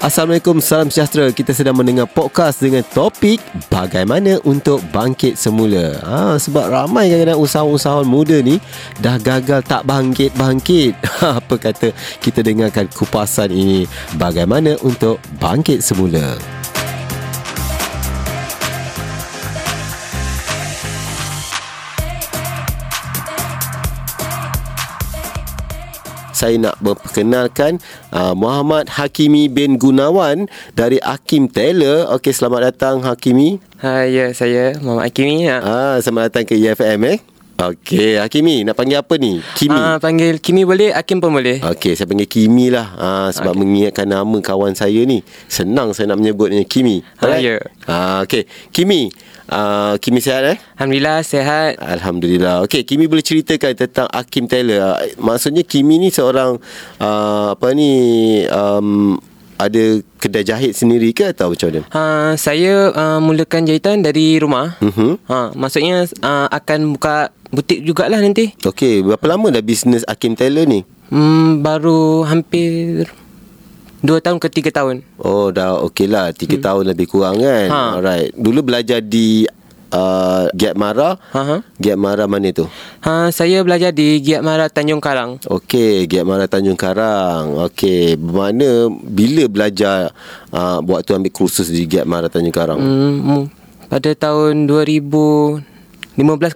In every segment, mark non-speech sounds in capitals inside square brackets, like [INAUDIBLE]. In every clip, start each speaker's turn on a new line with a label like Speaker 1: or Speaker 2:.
Speaker 1: Assalamualaikum, salam sejahtera. Kita sedang mendengar podcast dengan topik bagaimana untuk bangkit semula. Ha, sebab ramai kadang-kadang usahawan-usahawan muda ni dah gagal tak bangkit-bangkit. [LAUGHS] Ha, apa kata kita dengarkan kupasan ini bagaimana untuk bangkit semula. saya nak memperkenalkan uh, Muhammad Hakimi bin Gunawan dari Hakim Taylor. Okey, selamat datang Hakimi.
Speaker 2: Ha, ya, saya Muhammad Hakimi. Ha.
Speaker 1: Ah, selamat datang ke EFM eh. Okey, Hakimi nak panggil apa ni? Kimi.
Speaker 2: Ha, panggil Kimi boleh, Hakim pun boleh.
Speaker 1: Okey, saya panggil Kimi lah. Ha, sebab okay. mengingatkan nama kawan saya ni. Senang saya nak menyebutnya Kimi.
Speaker 2: Ha, ya.
Speaker 1: Ha, okey, Kimi. Uh, Kimi sihat eh?
Speaker 2: Alhamdulillah, sehat.
Speaker 1: Alhamdulillah. Okey, Kimi boleh ceritakan tentang Hakim Taylor. Ah, Maksudnya Kimi ni seorang uh, apa ni um, ada kedai jahit sendiri ke atau macam mana?
Speaker 2: Ha, saya uh, mulakan jahitan dari rumah.
Speaker 1: Mhm.
Speaker 2: Ha, maksudnya uh, akan buka butik jugalah nanti.
Speaker 1: Okey, berapa lama dah bisnes Hakim Taylor ni?
Speaker 2: Hmm, baru hampir 2 tahun ke 3 tahun.
Speaker 1: Oh, dah okey lah. Tiga hmm. tahun lebih kurang kan?
Speaker 2: Ha.
Speaker 1: Alright. Dulu belajar di uh, Giat Mara.
Speaker 2: Ha, ha.
Speaker 1: Giat Mara mana tu?
Speaker 2: Ha, saya belajar di Giat Mara Tanjung Karang.
Speaker 1: Okey, Giat Mara Tanjung Karang. Okey, mana bila belajar uh, buat tu ambil kursus di Giat Mara Tanjung Karang? Hmm.
Speaker 2: Hmm, mu- pada tahun 2015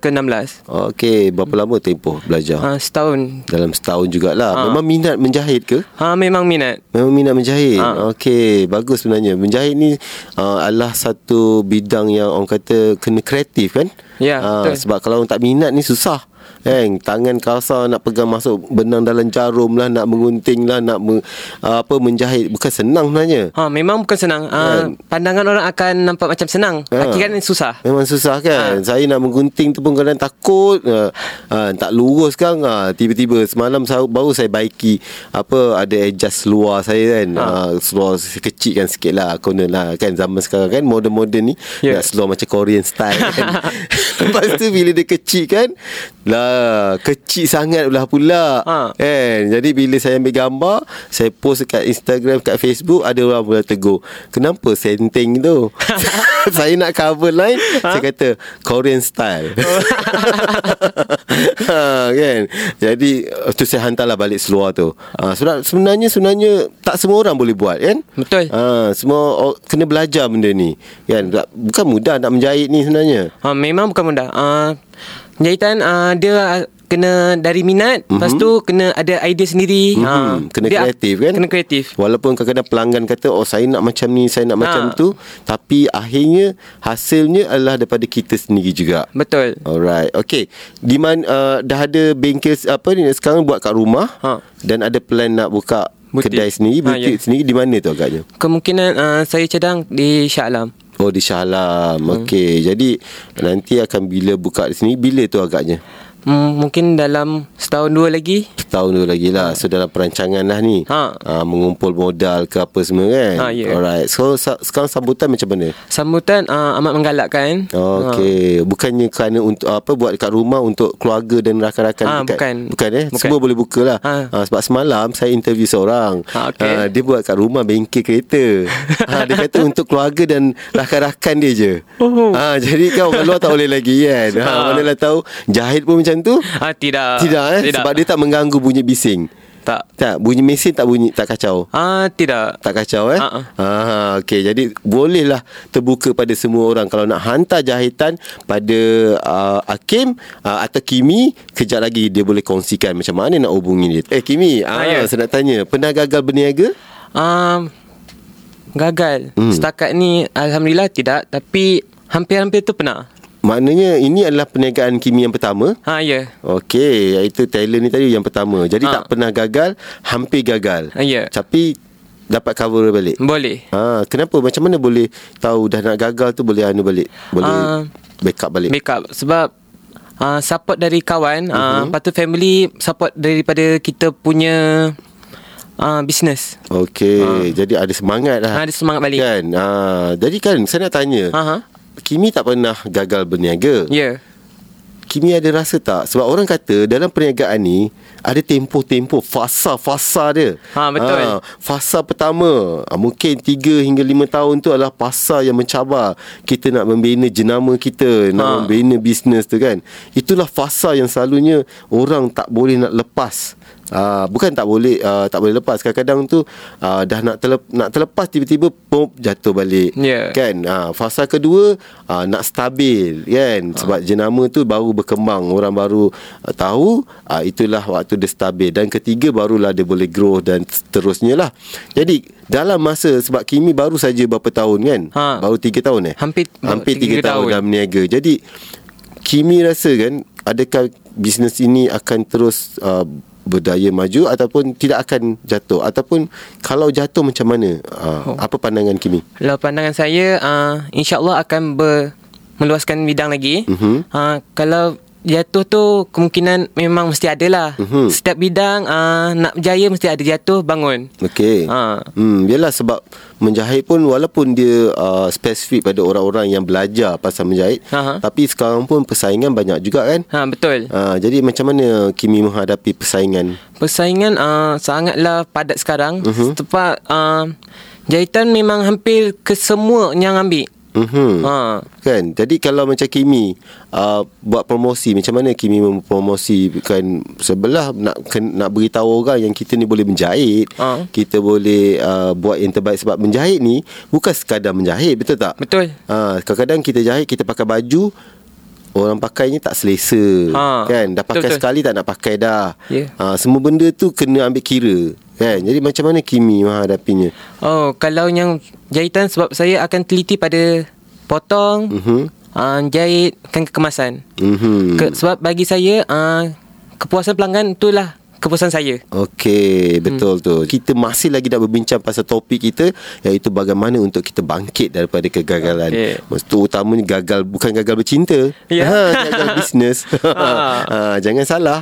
Speaker 2: ke 16.
Speaker 1: Okey, berapa lama tempoh belajar? Ha.
Speaker 2: Ha, setahun.
Speaker 1: Dalam setahun jugalah. Ha. Memang minat menjahit ke?
Speaker 2: Ha, memang minat.
Speaker 1: Memang minat menjahit. Ha. Okey, bagus sebenarnya. Menjahit ni uh, adalah satu bidang yang orang kata kena kreatif kan?
Speaker 2: Ya,
Speaker 1: Ah,
Speaker 2: betul.
Speaker 1: sebab kalau orang tak minat ni susah. Kan tangan kasar nak pegang masuk benang dalam jarum lah, nak mengunting lah, nak me, uh, apa menjahit bukan senang sebenarnya.
Speaker 2: Ha, memang bukan senang. Ha, pandangan orang akan nampak macam senang.
Speaker 1: Kan? Ha.
Speaker 2: Ha. Hakikatnya susah. Ah.
Speaker 1: Memang susah kan ha. Saya nak menggunting tu pun kadang takut uh, uh, Tak lurus kan uh, Tiba-tiba semalam saya, baru saya baiki Apa ada adjust luar saya kan
Speaker 2: Ah.
Speaker 1: ha. uh, Seluar kecil kan sikit lah Corner lah kan Zaman sekarang kan Modern-modern ni yeah.
Speaker 2: Ya.
Speaker 1: Nak seluar macam Korean style kan
Speaker 2: [LAUGHS]
Speaker 1: Lepas tu bila dia kecil kan lah Kecil sangat pula pula ha.
Speaker 2: Ha.
Speaker 1: kan? Jadi bila saya ambil gambar Saya post dekat Instagram Dekat Facebook Ada orang mula tegur Kenapa senting tu Saya nak cover line Saya kata Korean style [LAUGHS] ha, kan? Jadi eh, tu saya hantarlah balik seluar tu ha, sebab Sebenarnya Sebenarnya Tak semua orang boleh buat kan
Speaker 2: Betul.
Speaker 1: ha, Semua or- Kena belajar benda ni kan? Tak- Bukan mudah nak menjahit ni sebenarnya
Speaker 2: Ha, memang bukan mudah. Uh, jahitan uh, dia kena dari minat, mm-hmm. lepas tu kena ada idea sendiri.
Speaker 1: Mm-hmm.
Speaker 2: Ha,
Speaker 1: Mhm. Kena
Speaker 2: dia
Speaker 1: kreatif kan
Speaker 2: Kena kreatif.
Speaker 1: Walaupun kadang-kadang pelanggan kata Oh saya nak macam ni Saya nak ha.
Speaker 2: Ha.
Speaker 1: macam tu Tapi akhirnya Hasilnya adalah daripada kita sendiri juga
Speaker 2: Betul.
Speaker 1: Alright Okay Di mana uh, Dah ada bengkel s- Apa ni Sekarang buat kat rumah
Speaker 2: Ha.
Speaker 1: Dan ada plan nak buka
Speaker 2: Butik.
Speaker 1: Kedai sendiri
Speaker 2: Ha,
Speaker 1: Butik
Speaker 2: ya.
Speaker 1: sendiri Di mana tu agaknya
Speaker 2: Kemungkinan uh, saya cadang di Shah Alam.
Speaker 1: Oh di Shah Alam hmm. Okay Jadi Nanti akan bila buka di sini Bila tu agaknya
Speaker 2: Hmm, mungkin dalam setahun dua lagi.
Speaker 1: Setahun dulu lagi lah So dalam perancangan lah ni
Speaker 2: Hmm.
Speaker 1: Ah,
Speaker 2: Ha.
Speaker 1: Mengumpul modal ke apa semua kan
Speaker 2: Ha, ya.
Speaker 1: Alright So sa- sekarang sambutan macam mana
Speaker 2: Sambutan uh, amat menggalakkan. Ha.
Speaker 1: Okey, bukannya kerana untuk apa buat dekat rumah untuk keluarga dan rakan-rakan dekat.
Speaker 2: Ah, bukan.
Speaker 1: bukan eh.
Speaker 2: Bukan.
Speaker 1: Semua boleh buka lah.
Speaker 2: Ah.
Speaker 1: Ah, sebab semalam saya interview seorang.
Speaker 2: Ah, okey.
Speaker 1: Ah, dia buat kat rumah bengkel
Speaker 2: [LAUGHS]
Speaker 1: kereta. ha, dia kata untuk keluarga dan rakan-rakan dia je.
Speaker 2: Oh.
Speaker 1: Ah, jadi kan orang luar tak boleh lagi kan. Ha, manalah tahu jahit pun macam tu.
Speaker 2: Ha, tidak.
Speaker 1: Tidak eh sebab dia tak mengganggu bunyi bising.
Speaker 2: tak.
Speaker 1: Tak, bunyi mesin tak bunyi tak kacau.
Speaker 2: Ah, tidak.
Speaker 1: Tak kacau eh
Speaker 2: Ha,
Speaker 1: uh-uh. Okey jadi bolehlah terbuka pada semua orang Kalau nak hantar jahitan pada uh, Hakim uh, atau Kimi Kejap lagi dia boleh kongsikan macam mana nak hubungi dia Eh Kimi ah,
Speaker 2: ya.
Speaker 1: saya nak tanya Pernah gagal berniaga?
Speaker 2: Um, gagal. Hmm. Setakat ni alhamdulillah tidak tapi hampir-hampir tu pernah.
Speaker 1: Maknanya ini adalah perniagaan Kimi yang pertama
Speaker 2: Ha ya.
Speaker 1: Okey iaitu Taylor ni tadi yang pertama Jadi
Speaker 2: Ah.
Speaker 1: tak pernah gagal Hampir gagal
Speaker 2: Ah, ya.
Speaker 1: Tapi dapat cover balik
Speaker 2: Boleh.
Speaker 1: Ah, kenapa? Macam mana boleh tahu dah nak gagal tu boleh anu balik?
Speaker 2: Ah.
Speaker 1: Boleh backup balik?
Speaker 2: Backup sebab uh, support dari kawan, uh, lepas tu family support daripada kita punya uh, business.
Speaker 1: Okey, ha. jadi ada semangat lah.
Speaker 2: Ha, Ah. ada semangat balik.
Speaker 1: Kan? Ha, jadi kan saya nak tanya.
Speaker 2: Ha ha.
Speaker 1: Kimi tak pernah gagal berniaga.
Speaker 2: Ya. Yeah.
Speaker 1: Kimi ada rasa tak sebab orang kata dalam perniagaan ni ada tempoh-tempoh fasa-fasa dia.
Speaker 2: Ha, betul.
Speaker 1: fasa pertama ah, mungkin 3 hingga 5 tahun tu adalah fasa yang mencabar. Kita nak membina jenama kita, nak
Speaker 2: Ha.
Speaker 1: membina bisnes tu kan. Itulah fasa yang selalunya orang tak boleh nak lepas. Ah bukan tak boleh ah, tak boleh lepas kadang-kadang tu ah, dah nak terlep, nak terlepas tiba-tiba pop jatuh balik
Speaker 2: Ya.
Speaker 1: kan kan ha, fasa kedua ha, nak stabil
Speaker 2: Ha.
Speaker 1: kan sebab jenama tu baru berkembang orang baru uh, tahu ha, itulah waktu dia stabil dan ketiga barulah dia boleh grow dan seterusnya lah jadi dalam masa sebab Kimi baru saja berapa tahun kan
Speaker 2: Ha.
Speaker 1: baru tiga tahun eh
Speaker 2: Hampir-
Speaker 1: hampir
Speaker 2: tiga
Speaker 1: tiga tahun,
Speaker 2: tahun.
Speaker 1: dalam niaga jadi Kimi rasa kan adakah bisnes ini akan terus uh, berdaya maju ataupun tidak akan jatuh ataupun kalau jatuh macam mana uh, oh. apa pandangan Kimi
Speaker 2: Kalau pandangan saya uh, InsyaAllah akan ber, Meluaskan bidang lagi
Speaker 1: Mhm.
Speaker 2: uh, Kalau jatuh tu Kemungkinan memang mesti ada lah
Speaker 1: Mhm.
Speaker 2: Setiap bidang uh, Nak berjaya mesti ada jatuh bangun
Speaker 1: Okey.
Speaker 2: Ha.
Speaker 1: Hmm, yalah sebab menjahit pun walaupun dia uh, spesifik pada orang-orang yang belajar pasal menjahit,
Speaker 2: Aha.
Speaker 1: tapi sekarang pun persaingan banyak juga kan?
Speaker 2: ha, Betul
Speaker 1: Uh, jadi macam mana Kimi menghadapi persaingan?
Speaker 2: Persaingan uh, sangatlah padat sekarang
Speaker 1: Mhm.
Speaker 2: uh-huh. Tepat uh, Jahitan memang hampir Kesemua yang ambil
Speaker 1: Mhm.
Speaker 2: ha.
Speaker 1: Kan? Jadi kalau macam Kimi uh, buat promosi, macam mana Kimi mempromosikan sebelah nak ken, nak beritahu orang yang kita ni boleh menjahit,
Speaker 2: Ha.
Speaker 1: kita boleh uh, buat yang terbaik sebab menjahit ni bukan sekadar menjahit, betul tak?
Speaker 2: Betul
Speaker 1: Ha, kadang-kadang kita jahit kita pakai baju orang pakainya tak selesa
Speaker 2: Ha,
Speaker 1: kan dah pakai
Speaker 2: betul-betul.
Speaker 1: sekali tak nak pakai dah.
Speaker 2: Ya.
Speaker 1: Ha, semua benda tu kena ambil kira kan. Jadi macam mana Kimi menghadapinya?
Speaker 2: Oh, kalau yang jahitan sebab saya akan teliti pada potong,
Speaker 1: Mhm.
Speaker 2: uh, jahit, kan kemasan.
Speaker 1: Mhm.
Speaker 2: Ke, sebab bagi saya uh, kepuasan pelanggan itulah kepuasan saya.
Speaker 1: Okey, betul hmm. tu. Kita masih lagi nak berbincang pasal topik kita iaitu bagaimana untuk kita bangkit daripada kegagalan.
Speaker 2: Okey.
Speaker 1: Maksud tu utamanya gagal bukan gagal bercinta.
Speaker 2: Ya.
Speaker 1: Ha,
Speaker 2: [LAUGHS]
Speaker 1: gagal bisnes. ha, jangan salah.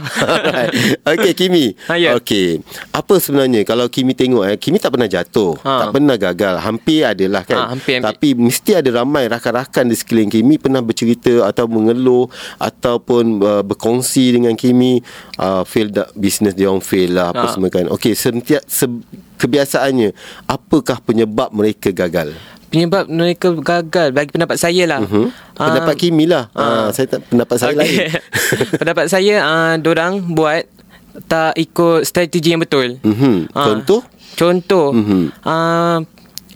Speaker 1: Okey, Kimi.
Speaker 2: Ha, ya.
Speaker 1: Okey. Apa sebenarnya kalau Kimi tengok eh Kimi tak pernah jatuh,
Speaker 2: Ha.
Speaker 1: tak pernah gagal. Hampir adalah kan.
Speaker 2: Ha, hampir, hampir.
Speaker 1: Tapi mesti ada ramai rakan-rakan di sekeliling Kimi pernah bercerita atau mengeluh ataupun uh, berkongsi dengan Kimi uh, fail tak bisnes dia orang fail lah apa ha.
Speaker 2: Ha.
Speaker 1: semua kan. Okey, sentiap se- kebiasaannya apakah penyebab mereka gagal?
Speaker 2: Penyebab mereka gagal bagi pendapat saya lah.
Speaker 1: Hmm?
Speaker 2: Ah,
Speaker 1: Pendapat Kimi lah. Ha. saya tak pendapat saya
Speaker 2: [LAUGHS] okey.
Speaker 1: lain.
Speaker 2: pendapat saya uh, dorang buat tak ikut strategi yang betul.
Speaker 1: Mhm.
Speaker 2: Ah,
Speaker 1: Contoh?
Speaker 2: Contoh.
Speaker 1: Mhm.
Speaker 2: Uh,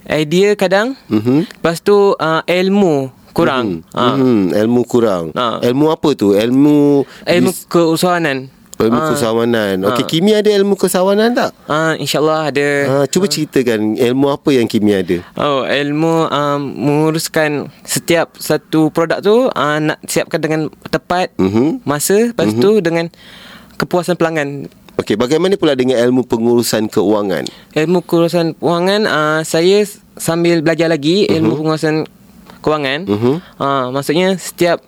Speaker 2: idea kadang.
Speaker 1: Mhm.
Speaker 2: Lepas tu uh, ilmu kurang.
Speaker 1: Hmm,
Speaker 2: Ah,
Speaker 1: hmm, ilmu kurang.
Speaker 2: Ha.
Speaker 1: Ilmu apa tu? Ilmu
Speaker 2: Ilmu ah.
Speaker 1: bis-
Speaker 2: keusahawanan.
Speaker 1: ilmu kesawanan. Okey, Kimi ada ilmu kesawanan tak?
Speaker 2: Ah, insyaallah ada.
Speaker 1: Ha,
Speaker 2: Ah.
Speaker 1: cuba ceritakan ilmu apa yang Kimi ada.
Speaker 2: Oh, ilmu um, menguruskan setiap satu produk tu uh, nak siapkan dengan tepat
Speaker 1: Mhm.
Speaker 2: masa, lepas tu dengan kepuasan pelanggan.
Speaker 1: Okey, bagaimana pula dengan ilmu pengurusan keuangan?
Speaker 2: Ilmu keurusan kewangan uh, saya s- sambil belajar lagi ilmu pengurusan kewangan.
Speaker 1: Mhm.
Speaker 2: Uh, maksudnya setiap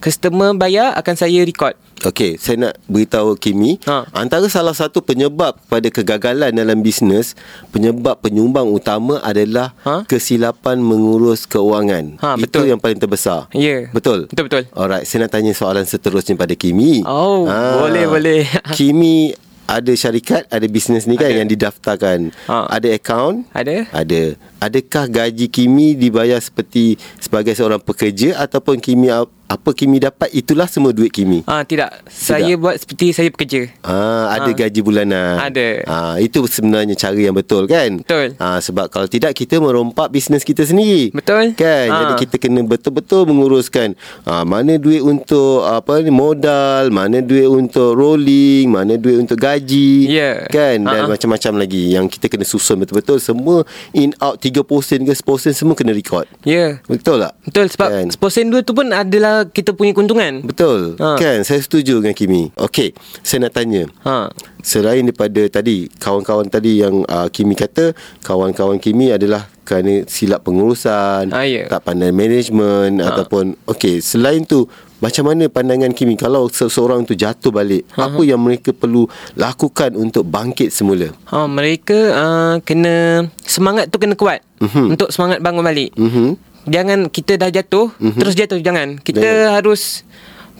Speaker 2: customer bayar akan saya record.
Speaker 1: Okey, saya nak beritahu Kimi, ha.
Speaker 2: Ha.
Speaker 1: antara salah satu penyebab pada kegagalan dalam bisnes, penyebab penyumbang utama adalah ha?
Speaker 2: Ha?
Speaker 1: kesilapan mengurus keuangan.
Speaker 2: Ha,
Speaker 1: Itu
Speaker 2: betul.
Speaker 1: yang paling terbesar.
Speaker 2: Ya.
Speaker 1: Betul?
Speaker 2: Betul betul.
Speaker 1: Alright, saya nak tanya soalan seterusnya pada Kimi. Ha.
Speaker 2: Oh, boleh, boleh. [LAUGHS]
Speaker 1: Kimi ada syarikat, ada bisnes ni kan
Speaker 2: Ada.
Speaker 1: yang didaftarkan.
Speaker 2: Ha.
Speaker 1: Ada akaun?
Speaker 2: Ada?
Speaker 1: Ada. Adakah gaji Kimi dibayar seperti sebagai seorang pekerja ataupun Kimi apa Kimi dapat itulah semua duit Kimi?
Speaker 2: Ah tidak. Saya buat seperti saya bekerja.
Speaker 1: Ah, ada gaji bulanan.
Speaker 2: Ada.
Speaker 1: Ah, itu sebenarnya cara yang betul kan?
Speaker 2: Betul.
Speaker 1: Ah, sebab kalau tidak kita merompak bisnes kita sendiri.
Speaker 2: Betul.
Speaker 1: Kan?
Speaker 2: Ah.
Speaker 1: Jadi kita kena betul-betul menguruskan ah, mana duit untuk apa ni modal, mana duit untuk rolling, mana duit untuk gaji.
Speaker 2: Ya.
Speaker 1: Kan? Dan
Speaker 2: Ah-ah.
Speaker 1: macam-macam lagi yang kita kena susun betul-betul semua in out 3% ke 10% semua kena record.
Speaker 2: Ya.
Speaker 1: Betul tak?
Speaker 2: Betul sebab
Speaker 1: Kan?
Speaker 2: kan. 10 dua tu pun adalah kita punya keuntungan.
Speaker 1: Betul.
Speaker 2: Ha.
Speaker 1: Kan? Saya setuju dengan Kimi. Okey, saya nak tanya.
Speaker 2: Ha.
Speaker 1: Selain daripada tadi kawan-kawan tadi yang uh, Kimi kata kawan-kawan Kimi adalah kerana silap pengurusan,
Speaker 2: Ah, ya. Ah.
Speaker 1: tak pandai management ha. ataupun okey selain tu macam mana pandangan Kimi kalau seseorang tu jatuh balik
Speaker 2: Hmm.
Speaker 1: apa yang mereka perlu lakukan untuk bangkit semula?
Speaker 2: Ha, mereka uh, kena semangat tu kena kuat mm-hmm. untuk semangat
Speaker 1: Mhm.
Speaker 2: bangun balik. Mm-hmm. Jangan kita dah jatuh mm-hmm. terus jatuh jangan. Kita
Speaker 1: Jangan.
Speaker 2: jangan. harus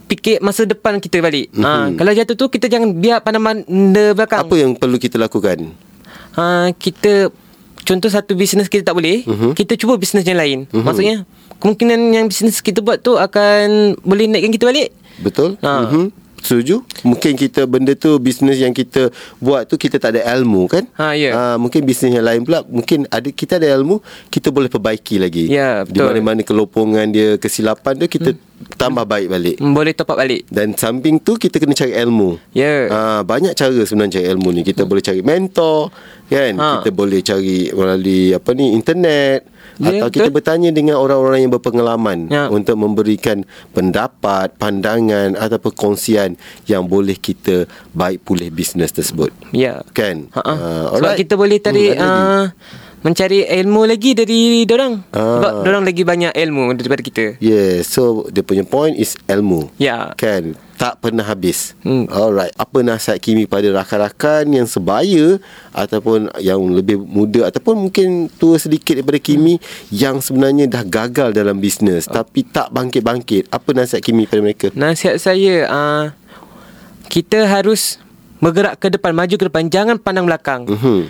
Speaker 2: fikir masa depan kita balik. Mm-hmm. Ha, kalau jatuh tu kita jangan biar pandang benda belakang.
Speaker 1: Apa yang perlu kita lakukan?
Speaker 2: Ha, kita contoh satu bisnes kita tak boleh, mm-hmm. kita cuba bisnes yang lain. Mm-hmm. Maksudnya kemungkinan yang bisnes kita buat tu akan boleh naikkan kita balik.
Speaker 1: Betul?
Speaker 2: Ha.
Speaker 1: Mhm. Setuju? Mungkin kita benda tu bisnes yang kita buat tu kita tak ada ilmu kan?
Speaker 2: Ha, ya.
Speaker 1: Ah, mungkin bisnes yang lain pula mungkin ada kita ada ilmu, kita boleh perbaiki lagi.
Speaker 2: Ya,
Speaker 1: Di
Speaker 2: betul. Hmm.
Speaker 1: mana-mana kelopongan dia, kesilapan dia kita tambah baik balik.
Speaker 2: Boleh top up balik.
Speaker 1: Dan samping tu kita kena cari ilmu.
Speaker 2: Ya.
Speaker 1: Ah, banyak cara sebenarnya cari ilmu ni. Kita boleh cari mentor, kan?
Speaker 2: Hmm. Ha.
Speaker 1: Kita boleh cari melalui apa ni internet
Speaker 2: Ya,
Speaker 1: atau
Speaker 2: betul.
Speaker 1: kita bertanya dengan orang-orang yang berpengalaman
Speaker 2: Ya.
Speaker 1: untuk memberikan pendapat, pandangan ataupun kongsian yang boleh kita baik pulih bisnes tersebut.
Speaker 2: Ya.
Speaker 1: Kan?
Speaker 2: Ha.
Speaker 1: Ah,
Speaker 2: Sebab
Speaker 1: alright. Hmm,
Speaker 2: kita boleh
Speaker 1: ada
Speaker 2: tarik
Speaker 1: lagi.
Speaker 2: uh, mencari ilmu lagi dari dorang.
Speaker 1: Ah.
Speaker 2: Sebab dorang lagi banyak ilmu daripada kita.
Speaker 1: Yeah, so dia punya point is ilmu.
Speaker 2: Ya.
Speaker 1: Kan? Tak pernah habis.
Speaker 2: Hmm.
Speaker 1: Alright. Apa nasihat Kimi pada rakan-rakan yang sebaya ataupun yang lebih muda ataupun mungkin tua sedikit daripada Kimi yang sebenarnya dah gagal dalam bisnes
Speaker 2: Ah.
Speaker 1: tapi tak bangkit-bangkit. Apa nasihat Kimi pada mereka?
Speaker 2: Nasihat saya uh, kita harus bergerak ke depan, maju ke depan, jangan pandang belakang.
Speaker 1: Mhm.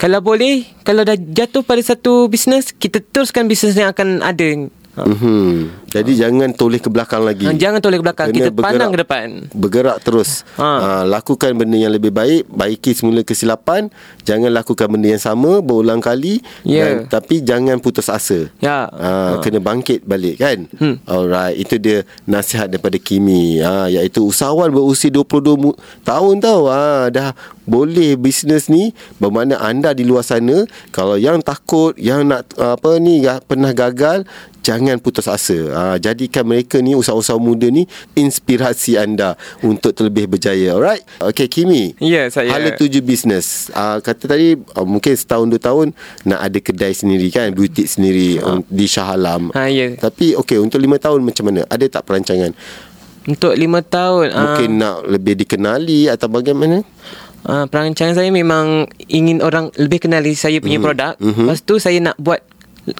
Speaker 2: Kalau boleh, kalau dah jatuh pada satu bisnes, kita teruskan bisnes yang akan ada. Ha.
Speaker 1: Mhm. Jadi jangan toleh ke belakang lagi.
Speaker 2: Ha, Ah. jangan toleh ke belakang,
Speaker 1: Kena
Speaker 2: kita
Speaker 1: bergerak-
Speaker 2: pandang ke depan.
Speaker 1: Bergerak terus. Ha.
Speaker 2: Ha.
Speaker 1: lakukan benda yang lebih baik, baiki semula kesilapan, jangan lakukan benda yang sama berulang kali
Speaker 2: Ya.
Speaker 1: tapi jangan putus asa.
Speaker 2: Ya.
Speaker 1: Ha, kena bangkit balik kan. Hmm. Alright, itu dia nasihat daripada Kimi. Ha iaitu usahawan berusia 22 mu- tahun tau. Ha dah boleh bisnes ni bermakna anda di luar sana kalau yang takut, yang nak apa ni ga- pernah gagal Jangan putus asa. Ha, jadikan mereka ni usaha-usaha muda ni inspirasi anda untuk terlebih berjaya. Alright? Okay Kimi.
Speaker 2: Ya, saya.
Speaker 1: Hala tuju bisnes. Uh, kata tadi uh, mungkin setahun dua tahun nak ada kedai sendiri kan, butik sendiri um, di Shah Alam.
Speaker 2: Ah. Ha, ya.
Speaker 1: Tapi okey untuk lima tahun macam mana? Ada tak perancangan?
Speaker 2: Untuk lima tahun, ah,
Speaker 1: Mungkin nak lebih dikenali atau bagaimana?
Speaker 2: Ah, perancangan saya memang ingin orang lebih kenali saya
Speaker 1: Hmm.
Speaker 2: punya mm-hmm. produk. Mm-hmm. Lepas tu saya nak buat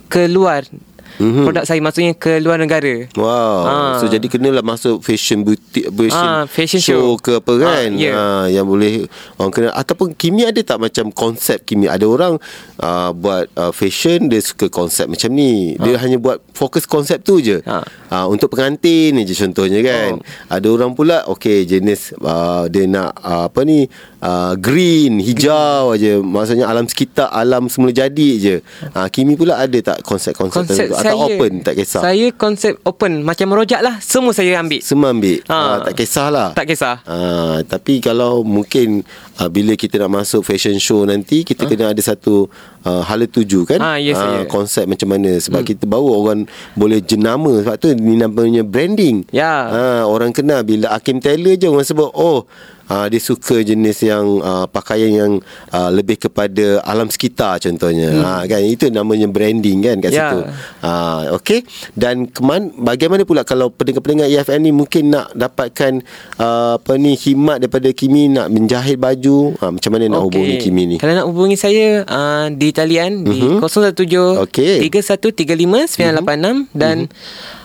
Speaker 2: keluar
Speaker 1: Hmm.
Speaker 2: mm-hmm. produk saya maksudnya ke luar negara.
Speaker 1: Wow.
Speaker 2: Ah.
Speaker 1: So jadi kenalah masuk fashion butik fashion,
Speaker 2: Ah, fashion show.
Speaker 1: ke apa kan.
Speaker 2: Ah, ya.
Speaker 1: Ah, yang boleh orang kenal ataupun Kimi ada tak macam konsep Kimi? Ada orang uh, buat uh, fashion dia suka konsep macam ni. Dia hanya buat fokus konsep tu je.
Speaker 2: Ah. Oh.
Speaker 1: Ah, untuk pengantin je contohnya kan. Ada orang pula okey jenis uh, dia nak uh, apa ni uh, green, hijau aja. Maksudnya alam sekitar, alam semula jadi je. Ah, Kimi pula ada tak konsep-konsep
Speaker 2: Konsep
Speaker 1: tertentu?
Speaker 2: saya
Speaker 1: atau open tak kisah?
Speaker 2: Saya konsep open macam merojak lah semua saya ambil.
Speaker 1: Semua ambil ha.
Speaker 2: Ha.
Speaker 1: ha tak kisahlah.
Speaker 2: Tak kisah.
Speaker 1: Ha, tapi kalau mungkin ha, bila kita nak masuk fashion show nanti kita ha? kena ada satu uh, hala tuju kan?
Speaker 2: Ah, yes,
Speaker 1: Ah,
Speaker 2: saya.
Speaker 1: konsep macam mana sebab hmm. kita baru orang boleh jenama sebab tu ni namanya branding.
Speaker 2: Ya.
Speaker 1: Ha, orang kenal bila Hakim Taylor je orang sebut oh ha, dia suka jenis yang uh, pakaian yang uh, lebih kepada alam sekitar contohnya. Hmm. Ha kan itu namanya branding kan kat
Speaker 2: Ya.
Speaker 1: situ. Ha, okay Dan keman, bagaimana pula Kalau pendengar-pendengar EFM ni Mungkin nak dapatkan uh, Apa ni Himat daripada Kimi Nak menjahit baju ha, Macam mana okay. nak
Speaker 2: Okey.
Speaker 1: hubungi Kimi ni Mhm.
Speaker 2: Kalau nak hubungi saya uh, di talian mm-hmm. di 017
Speaker 1: Okey. Mhm.
Speaker 2: 3135 986 dan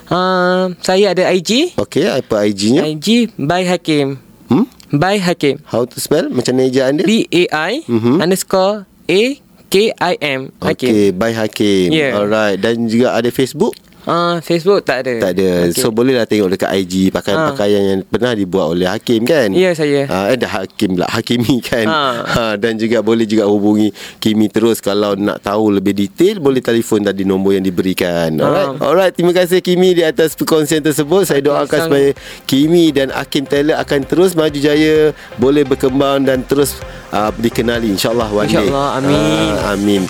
Speaker 2: uh, saya ada IG
Speaker 1: Okay Apa IG-nya
Speaker 2: IG by Hakim.
Speaker 1: hmm?
Speaker 2: By Hakim.
Speaker 1: How to spell Macam mana ejaan dia
Speaker 2: B E A I
Speaker 1: Mhm.
Speaker 2: underscore A K I M. Hakim.
Speaker 1: Okay By Hakim
Speaker 2: Ya.
Speaker 1: Alright Dan juga ada Facebook
Speaker 2: Ah, Facebook tak ada.
Speaker 1: Tak ada okay. So bolehlah tengok dekat IG Pakaian-pakaian yang pernah dibuat oleh Hakim kan
Speaker 2: Ah. Ya, saya.
Speaker 1: ha, Eh dah Hakim pula Hakimi kan ha.
Speaker 2: Ha.
Speaker 1: Ha, Dan juga boleh juga hubungi Kimi terus Kalau nak tahu lebih detail Boleh telefon tadi nombor yang diberikan Alright Alright Terima kasih Kimi di atas perkongsian tersebut Saya doakan
Speaker 2: Sama-sama.
Speaker 1: supaya Kimi dan Hakim Taylor Akan terus maju jaya Boleh berkembang dan terus uh, dikenali InsyaAllah one day
Speaker 2: InsyaAllah, amin.
Speaker 1: ha, Amin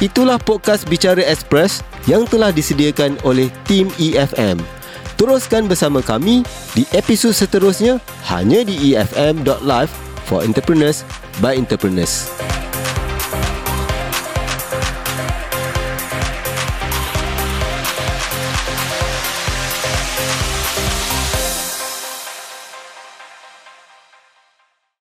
Speaker 1: Itulah podcast Bicara Express yang telah disediakan oleh tim EFM. Teruskan bersama kami di episod E seterusnya hanya di efm.live for entrepreneurs by entrepreneurs.